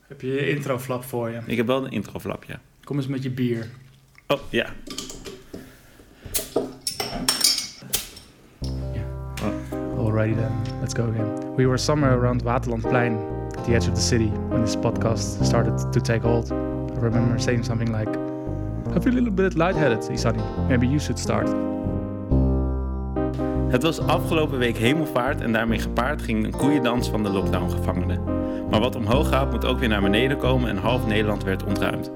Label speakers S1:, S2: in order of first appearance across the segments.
S1: Heb je je introflap voor je?
S2: Ik heb wel een introflapje.
S1: Kom eens met je bier.
S2: Oh, ja.
S1: Alrighty then, let's go again. We were somewhere around Waterlandplein, at the edge of the city, when this podcast started to take hold. I remember saying something like, I feel a little bit lightheaded, Isani. Maybe you should start.
S2: Het was afgelopen week hemelvaart en daarmee gepaard ging een koeiendans van de lockdown-gevangenen. Maar wat omhoog gaat moet ook weer naar beneden komen en half Nederland werd ontruimd.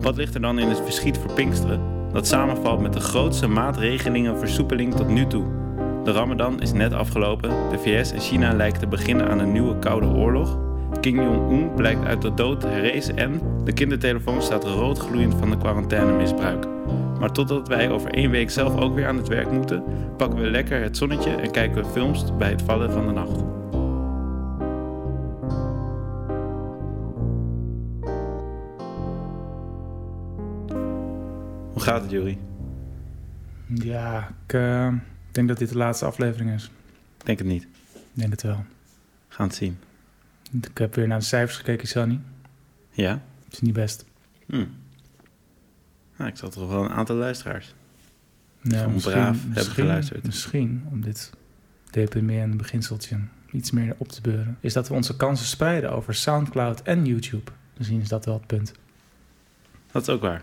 S2: Wat ligt er dan in het verschiet voor Pinksteren? Dat samenvalt met de grootste maatregelingenversoepeling tot nu toe. De Ramadan is net afgelopen, de VS en China lijken te beginnen aan een nieuwe koude oorlog. Kim Jong-un blijkt uit de dood herrezen en de kindertelefoon staat rood gloeiend van de quarantainemisbruik. Maar totdat wij over één week zelf ook weer aan het werk moeten, pakken we lekker het zonnetje en kijken we films bij het vallen van de nacht. Hoe gaat het, Jury?
S1: Ja, ik eh, denk dat dit de laatste aflevering is.
S2: Denk het niet.
S1: Ik denk het wel.
S2: We gaan het zien.
S1: Ik heb weer naar de cijfers gekeken, Isani.
S2: Ja?
S1: Het is niet best.
S2: Hm. Nou, ik zat toch wel een aantal luisteraars.
S1: Ja,
S2: Gewoon
S1: misschien-
S2: braaf hebben
S1: misschien-
S2: geluisterd.
S1: Misschien om dit deprimerende beginseltje iets meer op te beuren, is dat we onze kansen spreiden over Soundcloud en YouTube. Misschien is dat wel het punt.
S2: Dat is ook waar.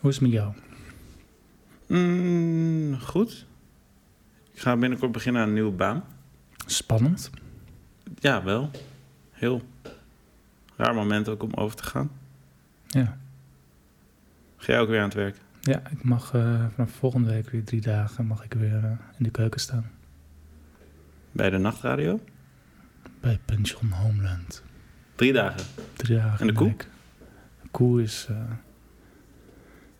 S1: Hoe is het met jou?
S2: Mm, goed. Ik ga binnenkort beginnen aan een nieuwe baan.
S1: Spannend.
S2: Ja, wel. Heel raar moment ook om over te gaan.
S1: Ja,
S2: Ga jij ook weer aan het werk?
S1: ja ik mag eh, vanaf volgende week weer drie dagen mag ik weer eh, in de keuken staan
S2: Bij de nachtradio?
S1: bij Pension Homeland.
S2: Drie dagen.
S1: Drie dagen.
S2: En de
S1: in
S2: koe?
S1: week. De koe is. eh,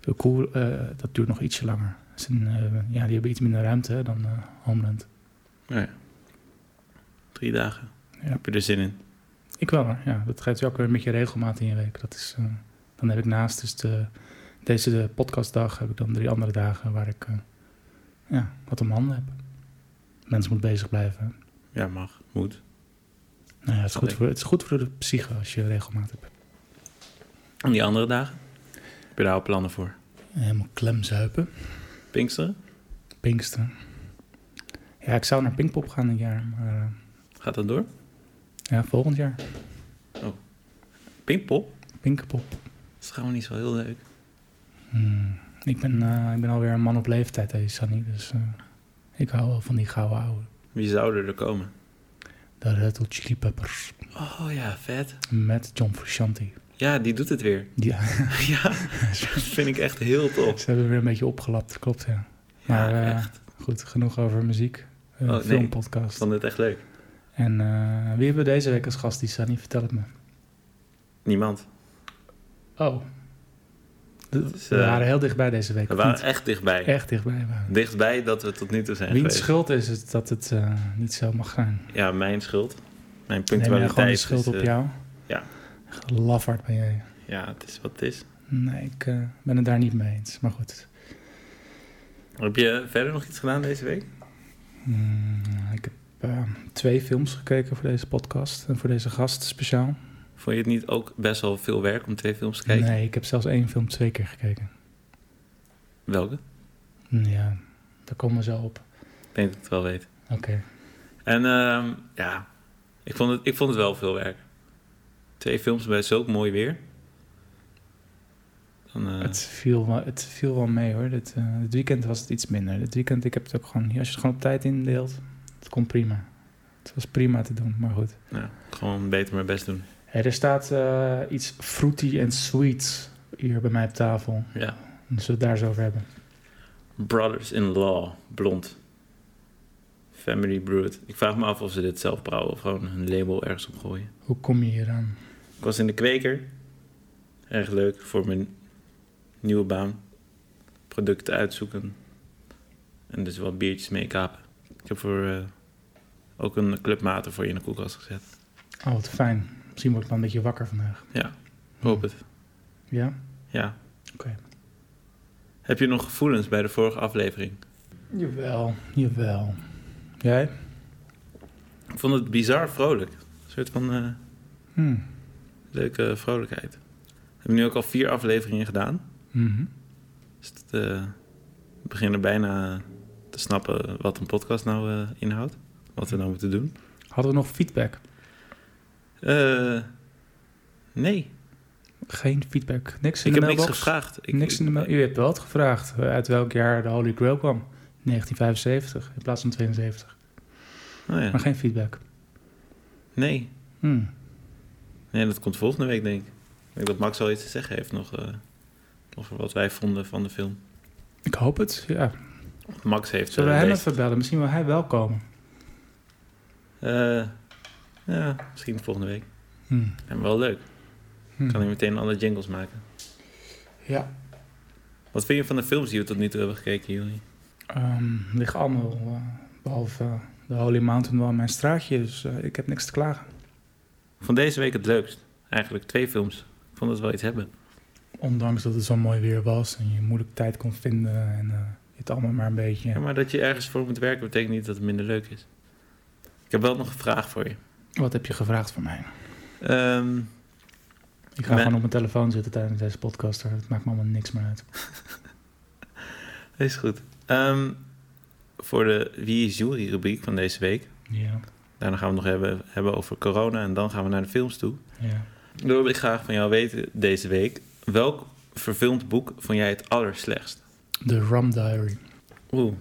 S1: de koe, eh, dat duurt nog ietsje langer. Dat is een, eh, ja, die hebben iets minder ruimte hè, dan eh, Homeland.
S2: Drie dagen.
S1: Ja.
S2: Heb je er zin in?
S1: Ik wel hoor, ja. Dat geeft je ook weer een beetje regelmaat in je week. Dat is, eh, dan heb ik naast dus de, deze de podcastdag heb ik dan drie andere dagen waar ik eh, ja, wat om handen heb. Mensen moeten bezig blijven. hè.
S2: Ja, mag. Moet.
S1: Nou ja, het, is goed voor, het is goed voor de psyche als je regelmaat hebt.
S2: En die andere dagen? Heb je daar al plannen voor?
S1: Helemaal klemzuipen.
S2: Pinksteren?
S1: Pinksteren. Ja, ik zou naar Pinkpop gaan dit jaar, maar eh,
S2: Gaat dat door?
S1: ja, volgend jaar.
S2: Pinkpop?
S1: Pinkpop.
S2: Dat is gewoon niet zo heel leuk.
S1: Hmm. Ik, ben, eh, ik ben alweer een man op leeftijd, hè, Sunny. Dus eh, ik hou wel van die gouden oude.
S2: Wie zouden er komen?
S1: De Red Hot Chili Peppers.
S2: Oh ja, vet.
S1: Met John Frusciante.
S2: Ja, die doet het weer.
S1: Ja,
S2: ja, dat vind ik echt heel tof.
S1: ze hebben weer een beetje opgelapt, klopt ja. Maar
S2: ja,
S1: eh,
S2: echt.
S1: goed, genoeg over muziek. Een
S2: Oh, nee. Ik
S1: filmpodcast.
S2: vond het echt leuk.
S1: En eh, wie hebben we deze week als gast, die Sunny? Vertel het me.
S2: Niemand.
S1: Oh. De-
S2: is,
S1: we
S2: eh,
S1: waren heel dichtbij deze week.
S2: We
S1: of
S2: waren
S1: niet?
S2: echt dichtbij.
S1: echt dichtbij. Waren.
S2: Dichtbij dat we tot nu toe zijn
S1: Wiens
S2: geweest.
S1: schuld is het dat het eh, niet zo mag zijn?
S2: Ja, mijn schuld. Mijn
S1: Neem jij
S2: punctualiteit.
S1: gewoon de
S2: is,
S1: schuld op
S2: eh,
S1: jou?
S2: ja.
S1: Echt Lafaard ben jij.
S2: Ja, het is wat het is.
S1: Nee, ik eh, ben het daar niet mee eens. Maar goed,
S2: Heb je verder nog iets gedaan deze week?
S1: Mm, ik heb eh, twee films gekeken voor deze podcast en voor deze gast speciaal.
S2: Vond je het niet ook best wel veel werk om twee films te kijken?
S1: Nee, ik heb zelfs één film twee keer gekeken.
S2: Welke?
S1: Mm, Ja, daar komen we zo op.
S2: Ik denk dat ik het wel weet.
S1: Oké.
S2: En ehm, ja, ik vond, het, ik vond het wel veel werk. Twee films bij zulk mooi weer. Dan, eh,
S1: Het, viel wel, het viel wel mee hoor. Dit, eh, dit weekend was het iets minder. Dit weekend, ik heb het ook gewoon, als je het gewoon op tijd indeelt, het komt prima. Het was prima te doen, maar goed.
S2: ja, gewoon beter mijn best doen.
S1: Hé, er staat eh, iets fruity en sweet hier bij mij op tafel.
S2: Ja.
S1: Dus we het daar eens over hebben.
S2: Brothers-in-law, blond. Family Brewed. Ik vraag me af of ze dit zelf brouwen of gewoon een label ergens op gooien.
S1: Hoe kom je hier aan?
S2: Ik was in de kweker. Erg leuk voor mijn nieuwe baan. Producten uitzoeken. En dus wat biertjes meekapen. Ik heb voor eh, ook een clubmaten voor je in de koelkast gezet.
S1: Oh, wat fijn. Misschien word ik wel een beetje wakker vandaag.
S2: Hoop het.
S1: Ja?
S2: Ja.
S1: Oké.
S2: Heb je nog gevoelens bij de vorige aflevering?
S1: Jawel, jawel. Jij?
S2: Ik vond het bizar vrolijk. Een soort van eh,
S1: Hm.
S2: Leuke vrolijkheid. We hebben nu ook al vier afleveringen gedaan.
S1: Mhm.
S2: Dus het, eh, we beginnen bijna te snappen wat een podcast nou eh, inhoudt. Wat we nou moeten doen.
S1: Hadden we nog feedback?
S2: Eh, nee,
S1: Geen feedback. Niks in
S2: ik
S1: de
S2: heb niks
S1: mailbox?
S2: gevraagd. Ik,
S1: niks in de mail. U hebt wel gevraagd eh, uit welk jaar de Holy Grail kwam. 1975 in plaats van 72.
S2: Oh ja,
S1: Maar geen feedback.
S2: nee.
S1: Hmm.
S2: nee, dat komt volgende week denk ik. Ik denk dat Max al iets te zeggen heeft nog eh, over wat wij vonden van de film.
S1: Ik hoop het, ja.
S2: Max heeft...
S1: Zullen we
S2: eh,
S1: hem
S2: deze-
S1: even bellen? Misschien wil hij wel komen.
S2: Eh, ja, misschien volgende week.
S1: Hmm.
S2: En wel leuk.
S1: Hmm.
S2: Kan hij meteen alle jingles maken.
S1: Ja.
S2: Wat vind je van de films die we tot nu toe hebben gekeken, jullie?
S1: Ehm liggen allemaal, eh, behalve eh, de Holy Mountain, wel in mijn straatje. Dus eh, ik heb niks te klagen.
S2: Van deze week het leukst. Eigenlijk twee films. Ik vond dat we wel iets hebben.
S1: Ondanks dat het zo mooi weer was en je moeilijk tijd kon vinden en eh, je het allemaal maar een beetje...
S2: Ja, maar dat je ergens voor moet werken betekent niet dat het minder leuk is. Ik heb wel nog een vraag voor je.
S1: Wat heb je gevraagd van mij?
S2: Ehm,
S1: Ik ga
S2: Nee.
S1: gewoon op mijn telefoon zitten tijdens deze podcast. hoor. Het maakt me allemaal niks meer uit.
S2: is goed. Ehm, voor de Wie is Jury rubriek van deze week.
S1: Ja,
S2: Daarna gaan we het nog hebben, hebben over corona en dan gaan we naar de films toe.
S1: ja.
S2: Dan wil ik graag van jou weten deze week. Welk verfilmd boek vond jij het allerslechtst?
S1: De Rum Diary.
S2: Oeh.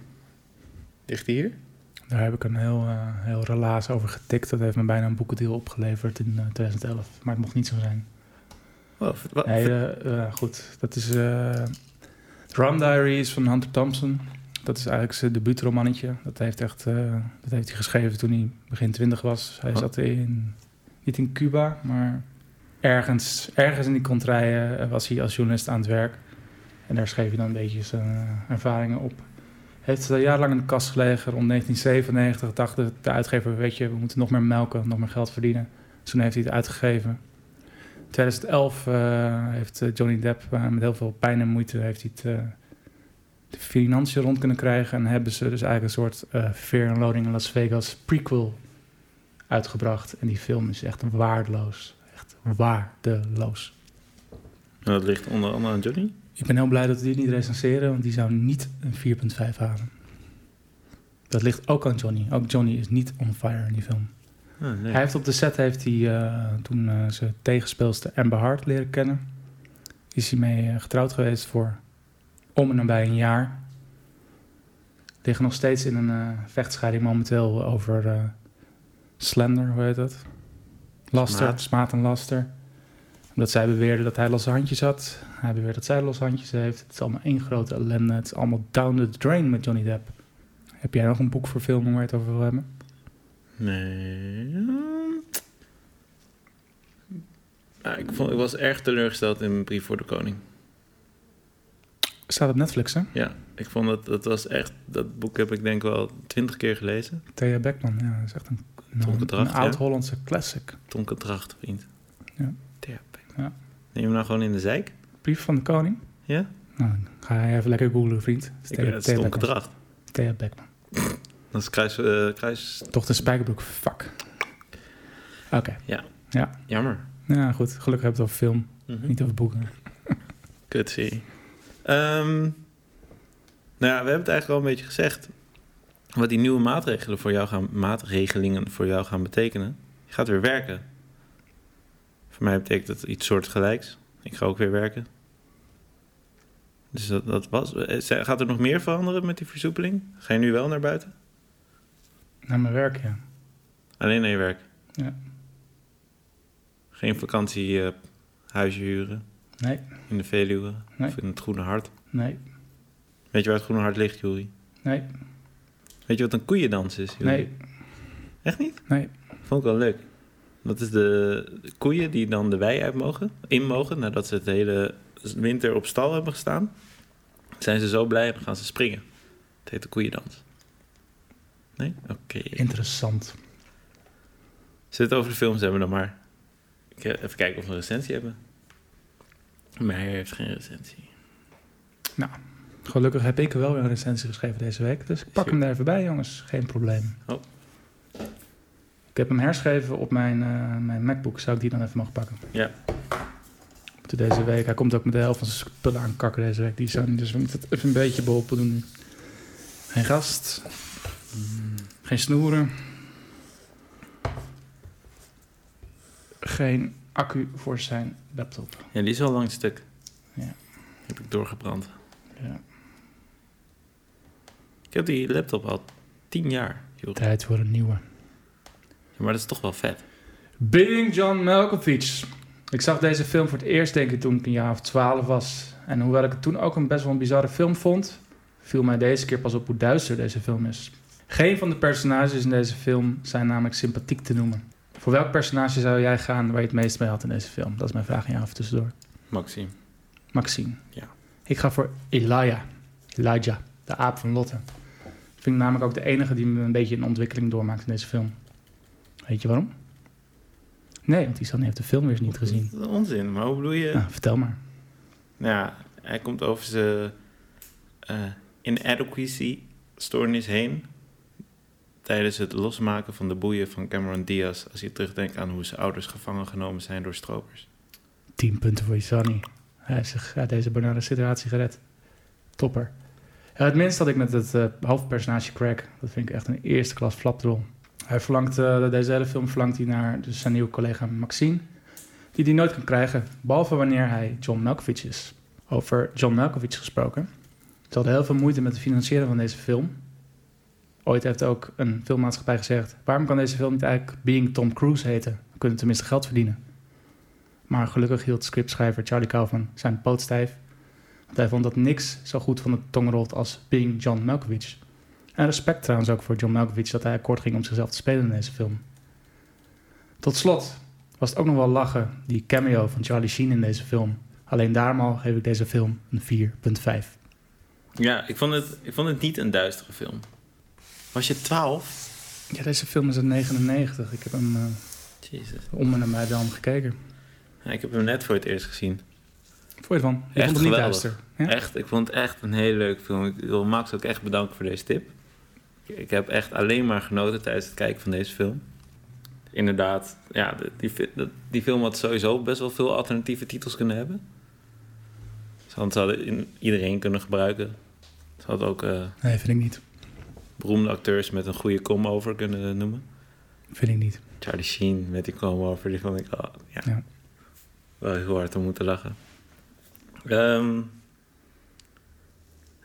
S2: Ligt hier?
S1: Daar heb ik een heel, eh, heel relaas over getikt. Dat heeft me bijna een boekendeal opgeleverd in eh, 2011. Maar het mocht niet zo zijn.
S2: Wow, ver- Oh, wa-
S1: Nee,
S2: ver-
S1: eh, eh, goed. Dat is... eh, de Rum Diary is van Hunter Thompson. Dat is eigenlijk zijn debuutromannetje. Dat heeft, echt, eh, dat heeft hij geschreven toen hij begin twintig was. Hij
S2: Oh.
S1: zat in... Niet in Cuba, maar ergens, ergens in die contraien eh, was hij als journalist aan het werk. En daar schreef hij dan een beetje zijn eh, ervaringen op. Heeft het al jarenlang in de kast gelegen. Rond 1997 dacht de, de uitgever, weet je, we moeten nog meer melken, nog meer geld verdienen. Dus toen heeft hij het uitgegeven. 2011 eh, heeft eh, Johnny Depp eh, met heel veel pijn en moeite heeft hij het, eh, de financiën rond kunnen krijgen. En hebben ze dus eigenlijk een soort eh Fear and Loading in Las Vegas prequel uitgebracht. En die film is echt waardeloos. Echt waardeloos.
S2: En dat ligt onder andere aan Johnny.
S1: Ik ben heel blij dat we die niet recenseren, want die zou niet een 4.5 halen. Dat ligt ook aan Johnny. Ook Johnny is niet on fire in die film.
S2: Ah, nee.
S1: Hij heeft op de set heeft hij, eh, toen eh, ze tegenspeelster Amber Hart leren kennen. Is hij mee eh, getrouwd geweest voor om en nabij een jaar. Liggen nog steeds in een eh, vechtscheiding momenteel over eh, slender, hoe heet dat? Laster,
S2: Smaad.
S1: smaad, en laster. Omdat zij beweerde dat hij losse handjes had. Hij beweerde dat zij losse handjes heeft. Het is allemaal één grote ellende. Het is allemaal down the drain met Johnny Depp. Heb jij nog een boek voor filmen waar je het over wil hebben?
S2: Nee. Ah, ik, vond, ik was erg teleurgesteld in mijn brief voor de koning.
S1: Staat op Netflix, hè?
S2: Ja, ik vond dat, dat was echt... Dat boek heb ik denk wel twintig keer gelezen.
S1: Thea Beckman, ja, dat is echt een,
S2: Tom
S1: een,
S2: Gedracht,
S1: een oud-Hollandse classic.
S2: Tonke Dracht, vriend.
S1: Ja.
S2: Tja,
S1: Ja.
S2: Neem hem nou gewoon in de zeik.
S1: Brief van de koning?
S2: Ja?
S1: Nou, ga je even lekker googlen, vriend. Het is
S2: Ik
S1: Thea-
S2: weet het,
S1: Thea
S2: is Tonke
S1: Beckman.
S2: Dracht.
S1: Thea Beckman.
S2: Dat is kruis, eh, kruis...
S1: Toch de spijkerbroek, fuck. Oké,
S2: Jammer.
S1: nou goed. Gelukkig hebben we het over film,
S2: Mhm.
S1: niet over boeken.
S2: Kut serie. Ehm, nou ja, we hebben het eigenlijk al een beetje gezegd. Wat die nieuwe maatregelen voor jou gaan, maatregelingen voor jou gaan betekenen. Je gaat weer werken. Voor mij betekent dat iets soortgelijks. Ik ga ook weer werken. Dus dat, dat was. eh, zijn- Gaat er nog meer veranderen met die versoepeling? Ga je nu wel naar buiten?
S1: Naar mijn werk, ja.
S2: Alleen naar je werk.
S1: Ja.
S2: Geen vakantiehuisje huren
S1: Nee,
S2: in de Veluwe
S1: Nee.
S2: of in het Groene Hart.
S1: nee,
S2: Weet je waar het Groene Hart ligt, Juri?
S1: nee,
S2: Weet je wat een koeiendans is? Juri?
S1: nee,
S2: Echt niet?
S1: nee.
S2: Vond ik wel leuk. Dat is de de koeien die dan de wei uit mogen, in mogen, nadat ze het hele winter op stal hebben gestaan. Zijn ze zo blij en gaan ze springen. Het heet de koeiendans. Nee? Oké.
S1: Interessant.
S2: Zit het over de films hebben dan maar. Ik, eh, even kijken of we een recensie hebben. Meijer heeft geen recensie.
S1: Gelukkig heb ik wel weer een recensie geschreven deze week, dus ik pak hem daar even bij, jongens. Geen probleem.
S2: Oh.
S1: Ik heb hem herschreven op mijn, eh, mijn MacBook. Zou ik die dan even mogen pakken?
S2: Ja.
S1: Op Deze week. Hij komt ook met de helft van zijn spullen aankakken deze week. Die zijn, dus we moeten het even een beetje beholpen doen nu. Geen gast. Mm, Geen snoeren. Geen accu voor zijn laptop.
S2: Ja, die is al lang stuk.
S1: Ja.
S2: Heb ik doorgebrand.
S1: Ja.
S2: Ik heb die laptop al tien jaar. joh.
S1: Tijd voor een nieuwe.
S2: Ja, maar dat is toch wel vet.
S1: Being John Malkovich. Ik zag deze film voor het eerst denk ik toen ik een jaar of twaalf was. En hoewel ik het toen ook een best wel een bizarre film vond, viel mij deze keer pas op hoe duister deze film is. Geen van de personages in deze film zijn namelijk sympathiek te noemen. Voor welk personage zou jij gaan waar je het meest mee had in deze film? Dat is mijn vraag aan jou even tussendoor.
S2: Maxime.
S1: Maxine.
S2: Ja.
S1: Ik ga voor Elijah. Elijah, de aap van Lotte. Vind ik namelijk ook de enige die me een beetje een ontwikkeling doormaakt in deze film. Weet je waarom? Nee, want Isan heeft de film weer niet gezien.
S2: Dat is Onzin, maar hoe bedoel je?
S1: Nou, vertel maar.
S2: Nou ja, hij komt over zijn eh inadequacy stoornis heen. Tijdens het losmaken van de boeien van Cameron Diaz. Als je terugdenkt aan hoe zijn ouders gevangen genomen zijn door stropers.
S1: 10 punten voor Isani. Hij heeft zich uit deze banale situatie gered. Topper. Ja, het minst had ik met het eh, hoofdpersonage Craig. Dat vind ik echt een eerste klas flapdrol. Hij verlangt, eh, deze hele film verlangt hij naar dus zijn nieuwe collega Maxine. Die hij nooit kan krijgen, behalve wanneer hij John Malkovich is. Over John Malkovich gesproken. Ze hadden heel veel moeite met het financieren van deze film. Ooit heeft ook een filmmaatschappij gezegd... waarom kan deze film niet eigenlijk Being Tom Cruise heten? We kunnen tenminste geld verdienen. Maar gelukkig hield scriptschrijver Charlie Kaufman zijn poot stijf. Want hij vond dat niks zo goed van de tong rolt als Bing John Malkovich. En respect trouwens ook voor John Malkovich dat hij akkoord ging om zichzelf te spelen in deze film. Tot slot was het ook nog wel lachen, die cameo van Charlie Sheen in deze film. Alleen daarom al geef ik deze film een 4.5.
S2: Ja, ik vond, het, ik vond het niet een duistere film. Was je 12?
S1: Ja, deze film is uit 99. Ik heb hem eh,
S2: Jezus.
S1: om en nabij wel gekeken.
S2: Ja, ik heb hem net voor het eerst gezien.
S1: Vond je het van? Je
S2: Echt
S1: vond het niet
S2: geweldig.
S1: duister. Ja?
S2: Echt, ik vond het echt een hele leuke film. Ik wil Max ook echt bedanken voor deze tip. Ik heb echt alleen maar genoten tijdens het kijken van deze film. Inderdaad, ja, de- die, fi- dat- die film had sowieso best wel veel alternatieve titels kunnen hebben. Ze hadden- ze hadden in- iedereen kunnen gebruiken. Ze hadden ook eh,
S1: Nee, vind ik niet.
S2: beroemde acteurs met een goede come-over kunnen eh, noemen.
S1: Vind ik niet.
S2: Charlie Sheen met die come-over, die vond ik al, ja,
S1: Ja.
S2: wel heel hard om moeten lachen. Ehm,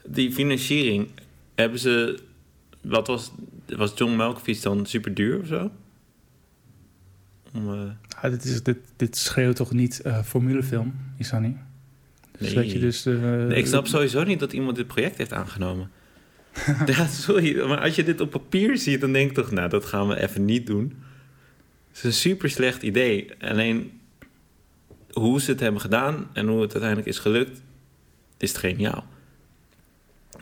S2: die financiering, hebben ze, wat was, was John Malkovich dan super duur of zo? Om, eh,
S1: Ja, Ah, dit, is, dit, dit schreeuwt toch niet eh, formulefilm, Isani? Dus
S2: Nee.
S1: dat je dus... eh,
S2: nee, ik snap sowieso niet dat iemand dit project heeft aangenomen. ja, sorry, maar als je dit op papier ziet, dan denk ik toch, nou, dat gaan we even niet doen. Het is een super slecht idee. Alleen hoe ze het hebben gedaan en hoe het uiteindelijk is gelukt, is het geniaal.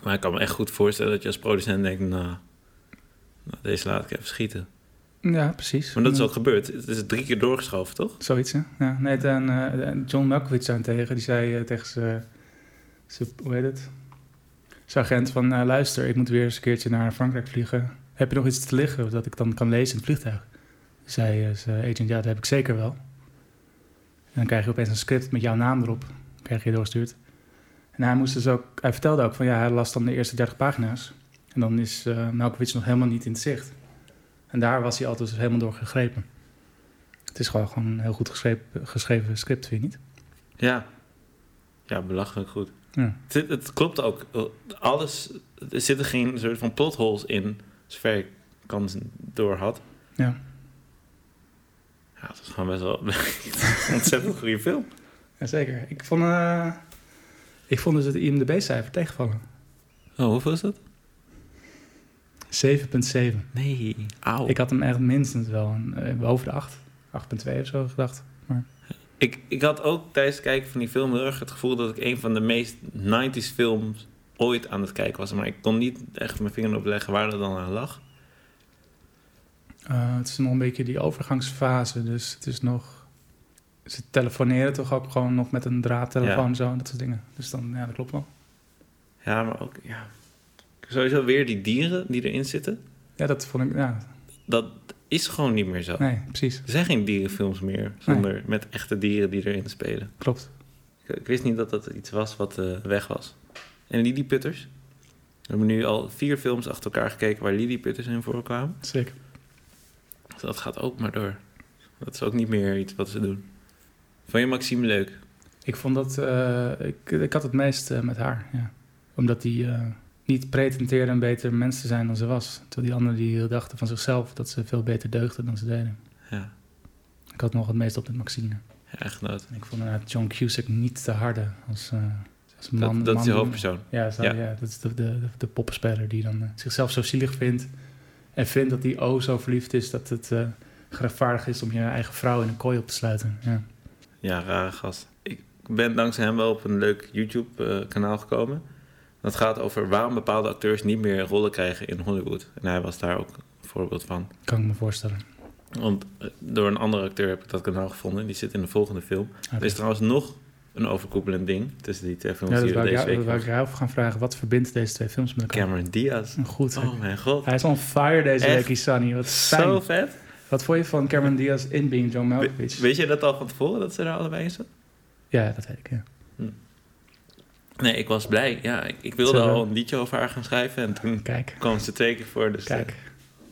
S2: Maar ik kan me echt goed voorstellen dat je als producent denkt, nou, nou, deze laat ik even schieten.
S1: Ja, precies.
S2: Maar dat is ook gebeurd. Het is drie keer doorgeschoven, toch?
S1: Zoiets, hè? Ja, nee, en eh, en John Malkovich zijn tegen. Die zei eh, tegen zijn... zijn- Hoe heet het? Zijn agent van... eh, luister, ik moet weer eens een keertje naar Frankrijk vliegen. Heb je nog iets te liggen dat ik dan kan lezen in het vliegtuig? Zei eh, zijn agent, ja, dat heb ik zeker wel. En dan krijg je opeens een script met jouw naam erop. Krijg je doorgestuurd. En hij moest dus ook... Hij vertelde ook van, ja, hij las dan de eerste 30 pagina's. En dan is eh Malkovich nog helemaal niet in het zicht. En daar was hij altijd dus helemaal door gegrepen. Het is gewoon, gewoon een heel goed geschreven, geschreven script, vind je niet?
S2: Ja. Ja, belachelijk goed.
S1: Ja.
S2: Het, zit- het klopt ook. Alles, er zitten geen soort van plot holes in, zover ik kans door had.
S1: Ja.
S2: Ja, het is gewoon best wel een ontzettend goede film.
S1: Jazeker. Ik vond, eh, ik vond dus het IMDB-cijfer tegenvallen.
S2: Oh, hoeveel is dat?
S1: 7,7.
S2: Nee, auw.
S1: Ik
S2: Ik,
S1: had hem echt minstens wel een, eh, boven de 8. 8,2 of zo gedacht.
S2: ik, had ook tijdens het kijken van die film heel erg het gevoel dat ik een van de meest 90s films ooit aan het kijken was. Maar ik kon niet echt mijn vinger op leggen waar dat dan aan lag.
S1: Eh, het is nog een beetje die overgangsfase, dus het is nog... Ze telefoneren toch ook gewoon nog met een draadtelefoon en zo en dat soort dingen. Dus dan, ja, dat klopt wel.
S2: Ja, maar ook, ja. Sowieso weer die dieren die erin zitten.
S1: Ja, dat vond ik, ja.
S2: dat is gewoon niet meer zo.
S1: Nee, precies.
S2: Er zijn geen dierenfilms meer zonder, met echte dieren die erin spelen.
S1: Klopt.
S2: Ik, ik wist niet dat dat iets was wat eh, weg was. En Lily Putters. We hebben nu al vier films achter elkaar gekeken waar Lily Putters in voorkwamen.
S1: Sick.
S2: Dus dat gaat ook maar door. Dat is ook niet meer iets wat ze doen. Vond je Maxime leuk?
S1: Ik vond dat... eh, ik, ik had het meest eh, met haar, ja. Omdat die eh, niet pretenteerde een beter mens te zijn dan ze was. Terwijl die anderen die dachten van zichzelf dat ze veel beter deugden dan ze deden.
S2: Ja,
S1: Ik had nog het meest op met Maxine.
S2: ja echtgenoot.
S1: En ik vond inderdaad John Cusack niet te harde als, eh, als man.
S2: Dat, dat is
S1: man-
S2: de hoofdpersoon.
S1: Ja, zo-
S2: Ja.
S1: ja, dat is de, de, de, de poppenspeler die dan eh, zichzelf zo zielig vindt. En vindt dat die o zo verliefd is dat het eh gerechtvaardigd is om je eigen vrouw in een kooi op te sluiten. Ja.
S2: Ja, rare gast. Ik ben dankzij hem wel op een leuk YouTube-kanaal gekomen. Dat gaat over waarom bepaalde acteurs niet meer rollen krijgen in Hollywood. En hij was daar ook een voorbeeld van.
S1: Kan ik me voorstellen.
S2: Want eh, door een andere acteur heb ik dat kanaal gevonden. Die zit in de volgende film. Er
S1: Oké.
S2: is trouwens nog een overkoepelend ding tussen die twee films
S1: dus-
S2: die we
S1: Ja, dat wou ik
S2: deze
S1: jou,
S2: week
S1: dat wou ik jou over gaan vragen. Wat verbindt deze twee films met elkaar?
S2: Cameron Diaz.
S1: Goed. hè.
S2: Oh mijn god.
S1: Hij is on fire deze
S2: Echt?
S1: week, Isani. Wat fijn.
S2: Zo vet.
S1: Wat vond je van Cameron Diaz in Being John
S2: We-
S1: Malkovich?
S2: weet je dat al van tevoren, dat ze er allebei in zat?
S1: Ja, dat weet ik. Ja.
S2: Nee, ik was blij. Ja, ik, ik wilde
S1: Zo wel.
S2: al een liedje over haar gaan schrijven. En toen
S1: Kijk.
S2: kwam ze twee keer voor. Dus eh,
S1: Kijk.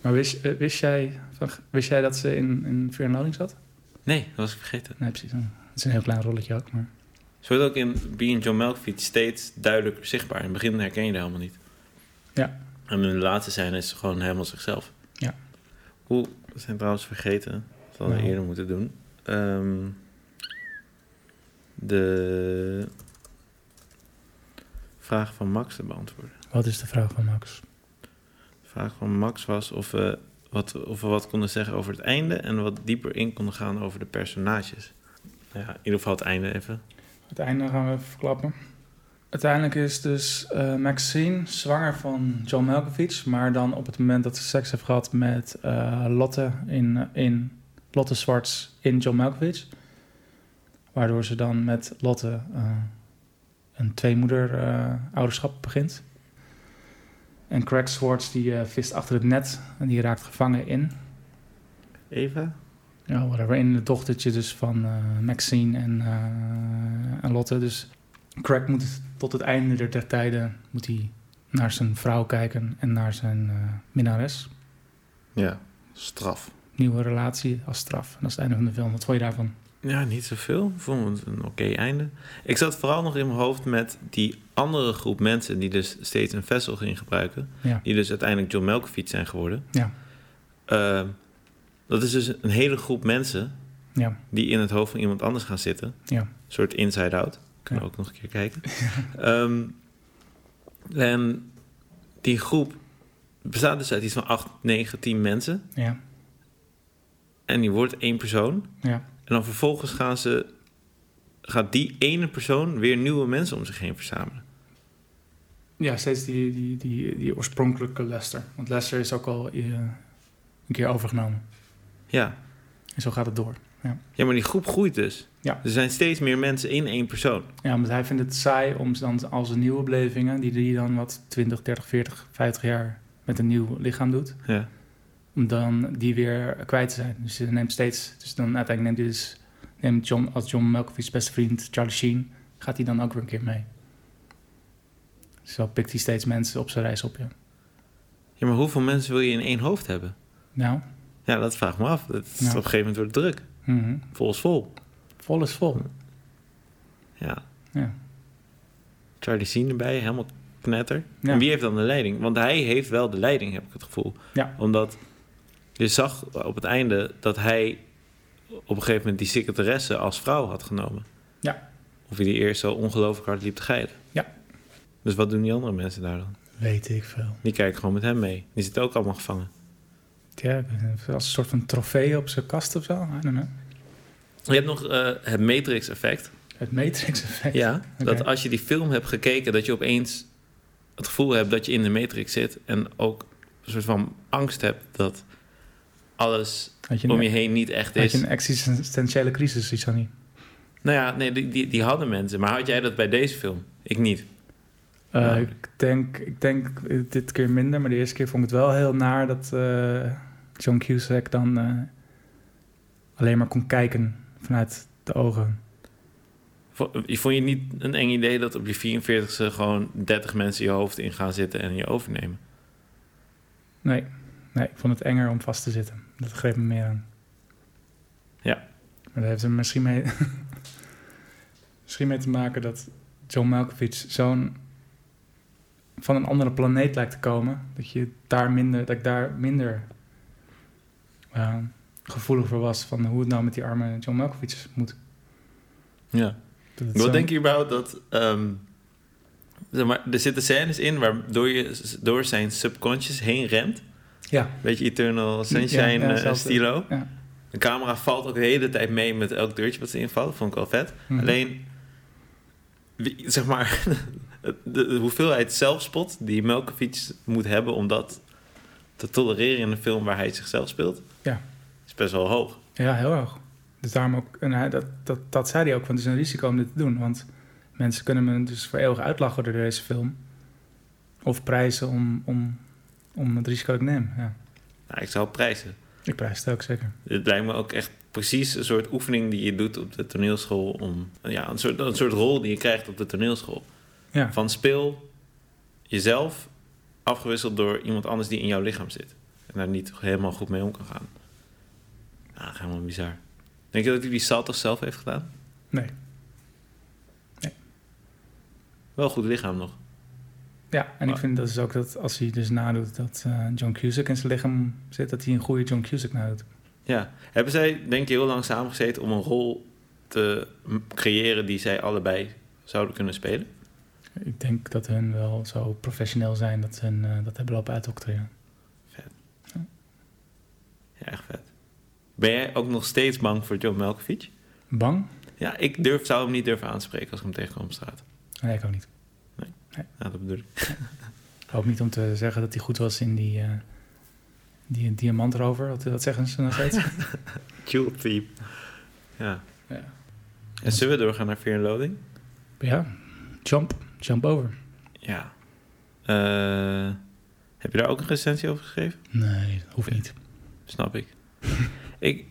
S1: Maar wist, eh, wist, jij, van- wist jij dat ze in, in Fear and Loathing zat?
S2: nee, dat was ik vergeten.
S1: Nee, precies. Het is een heel klein rolletje ook, maar...
S2: Ze wordt ook in Being John Malkovich steeds duidelijker zichtbaar. In het begin herken je haar helemaal niet.
S1: Ja.
S2: En in de laatste scène is ze gewoon helemaal zichzelf.
S1: Ja.
S2: Oeh, we zijn trouwens vergeten. Dat hadden we
S1: Nou.
S2: eerder moeten doen. Ehm, de vraag van Max te beantwoorden.
S1: Wat is de vraag van Max?
S2: De vraag van Max was of we, wat, of we wat konden zeggen over het einde... en wat dieper in konden gaan over de personages. Nou ja, in ieder geval het einde even.
S1: Het einde gaan we even verklappen. Uiteindelijk is dus eh, Maxine zwanger van John Malkovich... maar dan op het moment dat ze seks heeft gehad met eh, Lotte, in, in, Lotte Zwarts in John Malkovich... waardoor ze dan met Lotte eh, een tweemoeder eh, ouderschap begint. En Craig Swartz die eh, vist achter het net en die raakt gevangen in...
S2: Eva?
S1: Ja, whatever. En het dochtertje dus van eh, Maxine en, eh, en Lotte. Dus Craig moet tot het einde der tijden moet hij naar zijn vrouw kijken en naar zijn eh, minnares.
S2: Ja, straf.
S1: Nieuwe relatie als straf. En dat is het einde van de film. Wat vond je daarvan?
S2: Ja, niet zoveel. Ik vond het een oké einde. Ik zat vooral nog in mijn hoofd met die andere groep mensen die dus steeds een vessel ging gebruiken.
S1: Ja.
S2: Die dus uiteindelijk John Malkovich zijn geworden.
S1: Ja.
S2: Ehm, dat is dus een hele groep mensen
S1: Ja.
S2: die in het hoofd van iemand anders gaan zitten.
S1: Ja.
S2: Een soort inside-out. Kunnen we ook nog een keer kijken. Ehm, en die groep bestaat dus uit iets van 8, 9, 10 mensen.
S1: Ja.
S2: En die wordt één persoon.
S1: Ja.
S2: En dan vervolgens gaan ze, gaat die ene persoon weer nieuwe mensen om zich heen verzamelen.
S1: Ja, steeds die, die, die, die oorspronkelijke Lester. Want Lester is ook al eh, een keer overgenomen.
S2: Ja.
S1: En zo gaat het door.
S2: ja, maar die groep groeit dus.
S1: Ja.
S2: Er zijn steeds meer mensen in één persoon.
S1: Ja, want hij vindt het saai om ze dan als een nieuwe belevingen... die die dan wat 20, 30, 40, 50 jaar met een nieuw lichaam doet...
S2: Ja.
S1: om dan die weer kwijt te zijn. Dus hij neemt steeds, dus dan uiteindelijk neemt hij dus, neemt John, als John Malkovich's beste vriend Charlie Sheen, gaat hij dan ook weer een keer mee. Zo pikt hij steeds mensen op zijn reis op, ja.
S2: ja, maar hoeveel mensen wil je in één hoofd hebben?
S1: Nou,
S2: Ja, dat vraag ik me af. Dat is
S1: Ja.
S2: Op een gegeven moment wordt het druk.
S1: mhm.
S2: Vol is vol.
S1: vol is vol.
S2: Ja.
S1: Ja.
S2: Charlie Sheen erbij, helemaal knetter.
S1: Ja.
S2: En wie heeft dan de leiding? Want hij heeft wel de leiding, heb ik het gevoel.
S1: Ja.
S2: Omdat je zag op het einde dat hij op een gegeven moment die secretaresse als vrouw had genomen.
S1: Ja.
S2: Of hij die eerst zo ongelooflijk hard liep te geiden.
S1: Ja.
S2: Dus wat doen die andere mensen daar dan?
S1: Weet ik veel.
S2: Die kijken gewoon met hem mee. Die zitten ook allemaal gevangen.
S1: Ja, ik weet niet, als een soort van trofee op zijn kast of zo. I don't know.
S2: Je hebt nog eh, het Matrix-effect.
S1: Het Matrix-effect.
S2: Ja, dat
S1: Oké.
S2: als je die film hebt gekeken, dat je opeens het gevoel hebt dat je in de Matrix zit. En ook een soort van angst hebt dat alles
S1: Had je een,
S2: om je heen niet echt
S1: had
S2: is.
S1: je een existentiële crisis, iets niet?
S2: Nou ja, nee, die, die, die hadden mensen. Maar had jij dat bij deze film? Ik niet.
S1: Eh,
S2: Ja.
S1: ik, denk, ik denk dit keer minder, maar de eerste keer vond ik het wel heel naar dat eh, John Cusack dan eh, alleen maar kon kijken vanuit de ogen.
S2: Vo- Vond je niet een eng idee dat op je 44ste gewoon 30 mensen je hoofd in gaan zitten en je overnemen?
S1: Nee, nee, ik vond het enger om vast te zitten. Dat greep me meer aan.
S2: Ja.
S1: Maar dat heeft er misschien mee, misschien mee te maken dat John Malkovich zo'n van een andere planeet lijkt te komen. Dat, je daar minder, dat ik daar minder eh, gevoelig voor was van hoe het nou met die arme John Malkovich moet.
S2: Ja.
S1: Dat het
S2: Wat
S1: zo-
S2: denk je überhaupt dat... ehm, zeg maar, er zitten scènes in waardoor je door zijn subconscious heen rent.
S1: Ja.
S2: Beetje Eternal Sunshine
S1: Ja, ja,
S2: eh,
S1: zelfde.
S2: stilo.
S1: Ja.
S2: De camera valt ook de hele tijd mee met elk deurtje wat ze invalt. Vond ik wel vet.
S1: Mhm.
S2: Alleen, wie- zeg maar, de, de hoeveelheid zelfspot die Melkovic moet hebben om dat te tolereren in een film waar hij zichzelf speelt,
S1: Ja.
S2: is best wel hoog.
S1: Ja, heel erg. Dus daarom ook, en hij, dat, dat, dat zei hij ook, want het is een risico om dit te doen. Want mensen kunnen me dus voor eeuwig uitlachen door deze film. Of prijzen om, om, om het risico dat ik neem. Ja.
S2: Nou, ik zou het prijzen.
S1: Ik prijs het ook zeker.
S2: Het lijkt me ook echt precies een soort oefening die je doet op de toneelschool om, ja, een soort, een soort rol die je krijgt op de toneelschool.
S1: Ja.
S2: Van speel jezelf afgewisseld door iemand anders die in jouw lichaam zit en daar niet helemaal goed mee om kan gaan. Ja, helemaal bizar. Denk je dat hij die salto's zelf heeft gedaan?
S1: Nee.
S2: Wel goed lichaam nog.
S1: Ja, en ik vind dat is ook dat als hij dus nadoet dat eh, John Cusack in zijn lichaam zit, dat hij een goede John Cusack nadoet.
S2: Ja. Hebben zij, denk je, heel lang samengezeten om een rol te m- creëren die zij allebei zouden kunnen spelen?
S1: Ik denk dat hun wel zo professioneel zijn dat ze hun, eh, dat hebben lopen uitdocteren.
S2: Ja, echt vet. Ben jij ook nog steeds bang voor John Malkovich?
S1: Bang?
S2: Ja, ik durf, zou hem niet durven aanspreken als ik hem tegenkom op straat.
S1: Nee, ik ook niet.
S2: Ja, dat bedoel ik.
S1: Ik hoop niet om te zeggen dat hij goed was in die, eh die diamantrover. Wat, wat zeggen ze nog steeds?
S2: Cute type. Ja.
S1: Ja.
S2: En zullen we doorgaan naar Fear and Loading?
S1: ja, jump. Jump over.
S2: Ja. Eh, heb je daar ook een recensie over geschreven?
S1: Nee, dat hoeft niet.
S2: Snap ik. ik,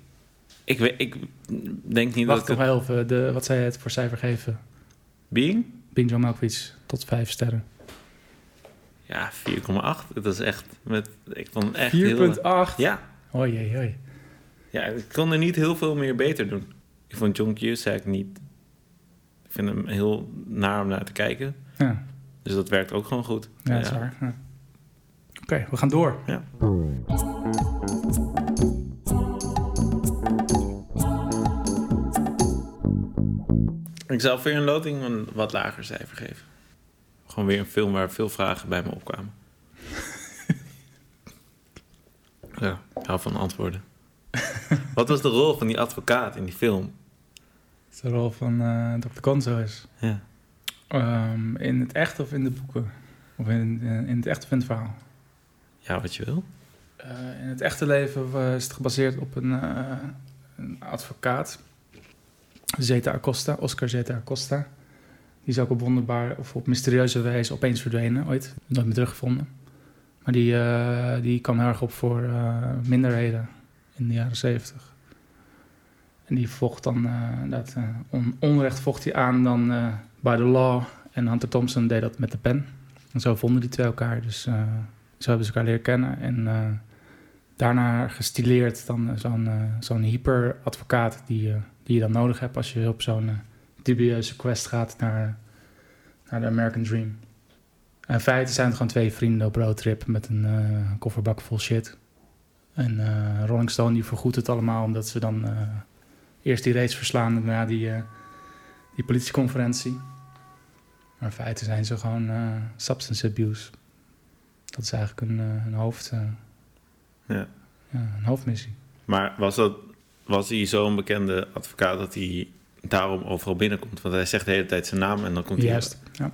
S2: ik, we- ik denk niet
S1: Wacht
S2: dat...
S1: nog
S2: het-
S1: wel even. eh, De, wat zij het voor cijfer geven.
S2: Being?
S1: Bing John Malkovich tot vijf sterren. 4,8.
S2: Ja, 4,8. Dat is echt met. Ik vond het echt heel.
S1: Hoi,
S2: Ja,
S1: hoi, hoi.
S2: ja, ik kon er niet heel veel meer beter doen. Ik vond John Cusack niet. Ik vind hem heel naar om naar te kijken.
S1: Ja,
S2: Dus dat werkt ook gewoon goed.
S1: ja, dat is
S2: Ja.
S1: waar. Ja. Oké, we gaan door.
S2: Ik zou voor een loting een wat lager cijfer geven. Gewoon weer een film waar veel vragen bij me opkwamen. ja, ik hou van antwoorden. wat was de rol van die advocaat in die film?
S1: Het is de rol van eh Dr. Conzo is.
S2: Ja.
S1: Ehm, in het echt of in de boeken? Of in, eh, in, in het echt of in het verhaal?
S2: Ja, wat je wil.
S1: Eh, in het echte leven eh, is het gebaseerd op een, eh, een advocaat, Zeta Acosta, Oscar Zeta Acosta. Die is ook op wonderbare of op mysterieuze wijze opeens verdwenen, ooit, nooit meer teruggevonden. Maar die, eh, die kwam heel erg op voor eh, minderheden in de jaren zeventig. En die vocht dan, eh, dat eh, on- onrecht vocht hij aan dan eh by the law. En Hunter Thompson deed dat met de pen. En zo vonden die twee elkaar, dus eh, zo hebben ze elkaar leren kennen. En eh, daarna gestileerd dan eh, zo'n eh, zo'n hyperadvocaat die, eh, die je dan nodig hebt als je op zo'n eh, dubieuze quest gaat naar, naar de American Dream. In feite zijn het gewoon twee vrienden op roadtrip met een eh, kofferbak vol shit. En eh, Rolling Stone die vergoedt het allemaal omdat ze dan eh, eerst die race verslaan en daarna die, eh, die politieconferentie. Maar in feite zijn ze gewoon eh, substance abuse. Dat is eigenlijk een, eh, een hoofd... eh, ja, een hoofdmissie.
S2: Maar was, dat, was hij zo'n bekende advocaat dat hij daarom overal binnenkomt? Want hij zegt de hele tijd zijn naam en dan komt hij...
S1: Juist. Ja.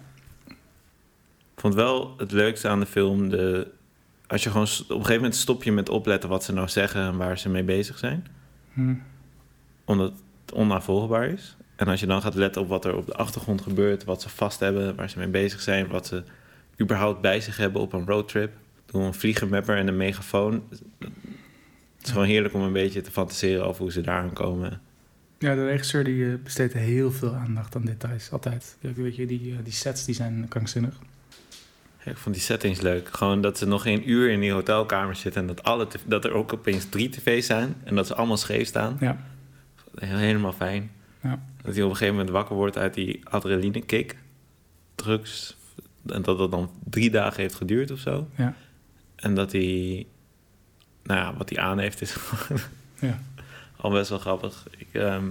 S2: Ik vond wel het leukste aan de film... De, als je gewoon s- op een gegeven moment stop je met opletten wat ze nou zeggen en waar ze mee bezig zijn.
S1: Hm.
S2: Omdat het onnavolgbaar is. En als je dan gaat letten op wat er op de achtergrond gebeurt, wat ze vast hebben, waar ze mee bezig zijn, wat ze überhaupt bij zich hebben op een roadtrip. Door een vliegenmapper en een megafoon. Het is gewoon heerlijk om een beetje te fantaseren over hoe ze daar aankomen.
S1: Ja, de regisseur die eh, besteedt heel veel aandacht aan details, altijd. Ja, Weet je, die, eh, die sets die zijn krankzinnig.
S2: Ja, Ik vond die settings leuk. Gewoon dat ze nog geen uur in die hotelkamer zitten en dat, alle t- dat er ook opeens drie tv's zijn en dat ze allemaal scheef staan.
S1: Ja.
S2: Heel- Helemaal fijn.
S1: Ja.
S2: Dat hij op een gegeven moment wakker wordt uit die adrenaline kick, drugs, en dat dat dan drie dagen heeft geduurd of zo.
S1: Ja.
S2: En dat hij, nou ja, wat hij aan heeft is gewoon
S1: Ja.
S2: al best wel grappig. Ik, ehm,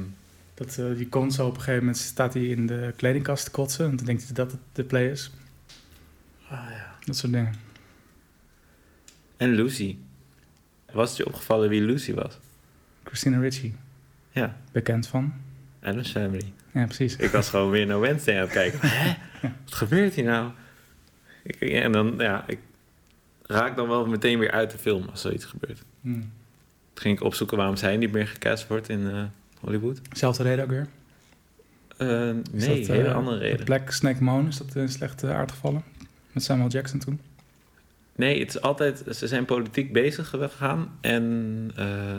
S1: Dat, eh, die komt zo op een gegeven moment, staat hij in de kledingkast te kotsen. En dan denkt hij dat het de play is. Dat soort dingen.
S2: En Lucy. Was het je opgevallen wie Lucy was?
S1: Christina Ritchie,
S2: Ja,
S1: bekend van.
S2: Adam's Family.
S1: Ja, precies.
S2: Ik was gewoon weer naar Wednesday aan het kijken. Hè? Wat gebeurt hier nou? Ik, en dan, ja, ik raak dan wel meteen weer uit de film als zoiets gebeurt.
S1: Hm.
S2: Toen ging ik opzoeken waarom zij niet meer gecast wordt in eh, Hollywood.
S1: Zelfde reden ook weer.
S2: Eh,
S1: Is
S2: nee,
S1: dat, eh,
S2: hele andere reden.
S1: Black Snake Moan, is dat een slechte aardgevallen? Met Samuel Jackson toen.
S2: Nee, het is altijd, ze zijn politiek bezig gegaan en eh,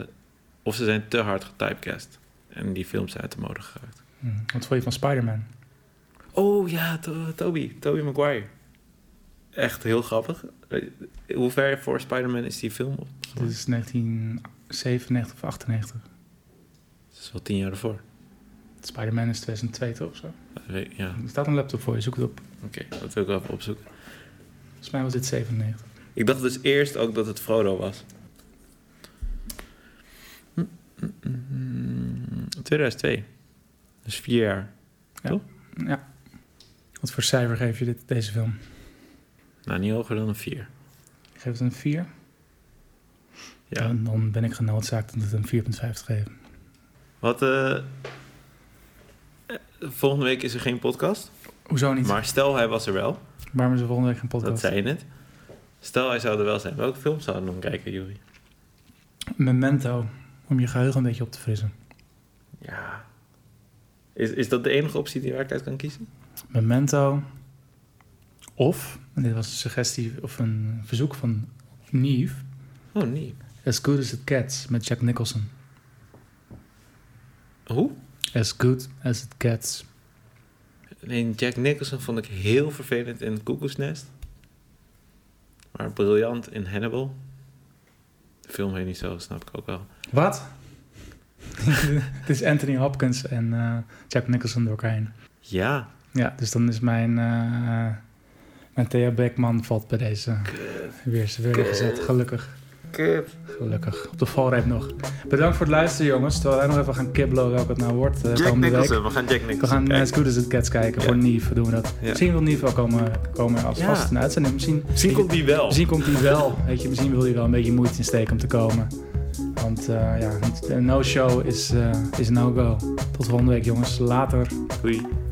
S2: of ze zijn te hard getypecast. En die films zijn uit de mode geraakt.
S1: Hm. Wat vond je van Spider-Man?
S2: Oh ja, To- Toby, Toby Maguire. Echt heel grappig. Eh, Hoe ver voor Spider-Man is die film?
S1: Dit is 1997 of 98.
S2: Dat is wel tien jaar ervoor.
S1: Spider-Man is 2002 toch of zo?
S2: Dat weet ik- Ja,
S1: Er staat een laptop voor je, zoek het op.
S2: oké, dat wil ik wel even opzoeken.
S1: Volgens mij was dit 97.
S2: Ik dacht dus eerst ook dat het Frodo was. Mm, mm, mm, mm. 2002. Dus vier jaar.
S1: Ja. Wat voor cijfer geef je dit, deze film?
S2: Nou, niet hoger dan een vier.
S1: Ik geef het een 4.
S2: Ja.
S1: En dan ben ik genoodzaakt om het een 4,5 te geven.
S2: Wat, eh, eh, volgende week is er geen podcast.
S1: Hoezo niet?
S2: Maar stel hij was er wel.
S1: Waarom is er volgende week geen
S2: Dat
S1: podcast?
S2: zei je net. Stel hij zou er wel zijn. Welke film zouden we dan kijken, Juri?
S1: Memento, om je geheugen een beetje op te frissen.
S2: Ja. Is, is dat de enige optie die waar ik uit kan kiezen?
S1: Memento. Of, en dit was een suggestie of een verzoek van Neve.
S2: Oh, nee.
S1: As Good as It Gets met Jack Nicholson.
S2: Hoe?
S1: As Good as It Gets.
S2: Nee, Jack Nicholson vond ik heel vervelend in Koekoesnest. Maar briljant in Hannibal. De film heet niet zo, snap ik ook wel.
S1: Wat? Het is Anthony Hopkins en eh, Jack Nicholson door elkaar heen.
S2: Ja.
S1: Ja, dus dan is mijn, eh mijn Thea Beckman valt bij deze weer, weer gezet. Gelukkig. Gelukkig. Op de valreep nog. Bedankt voor het luisteren, jongens. Terwijl wij nog even gaan kibbelen welke het nou wordt. eh,
S2: Jack
S1: komende week.
S2: Nicholson, we gaan Jack Nicholson
S1: We gaan
S2: kijken.
S1: As Good As It Gets kijken.
S2: Ja.
S1: Voor Nieve doen we dat.
S2: Ja.
S1: Misschien wil Nieve wel komen, komen als
S2: Ja.
S1: vast in de uitzending. Misschien,
S2: Misschien komt die wel.
S1: misschien komt hij wel. Weet je, misschien wil hij wel een beetje moeite insteken om te komen. Want eh, ja, een no-show is, eh, is een no-go. Tot volgende week, jongens. Later.
S2: Doei.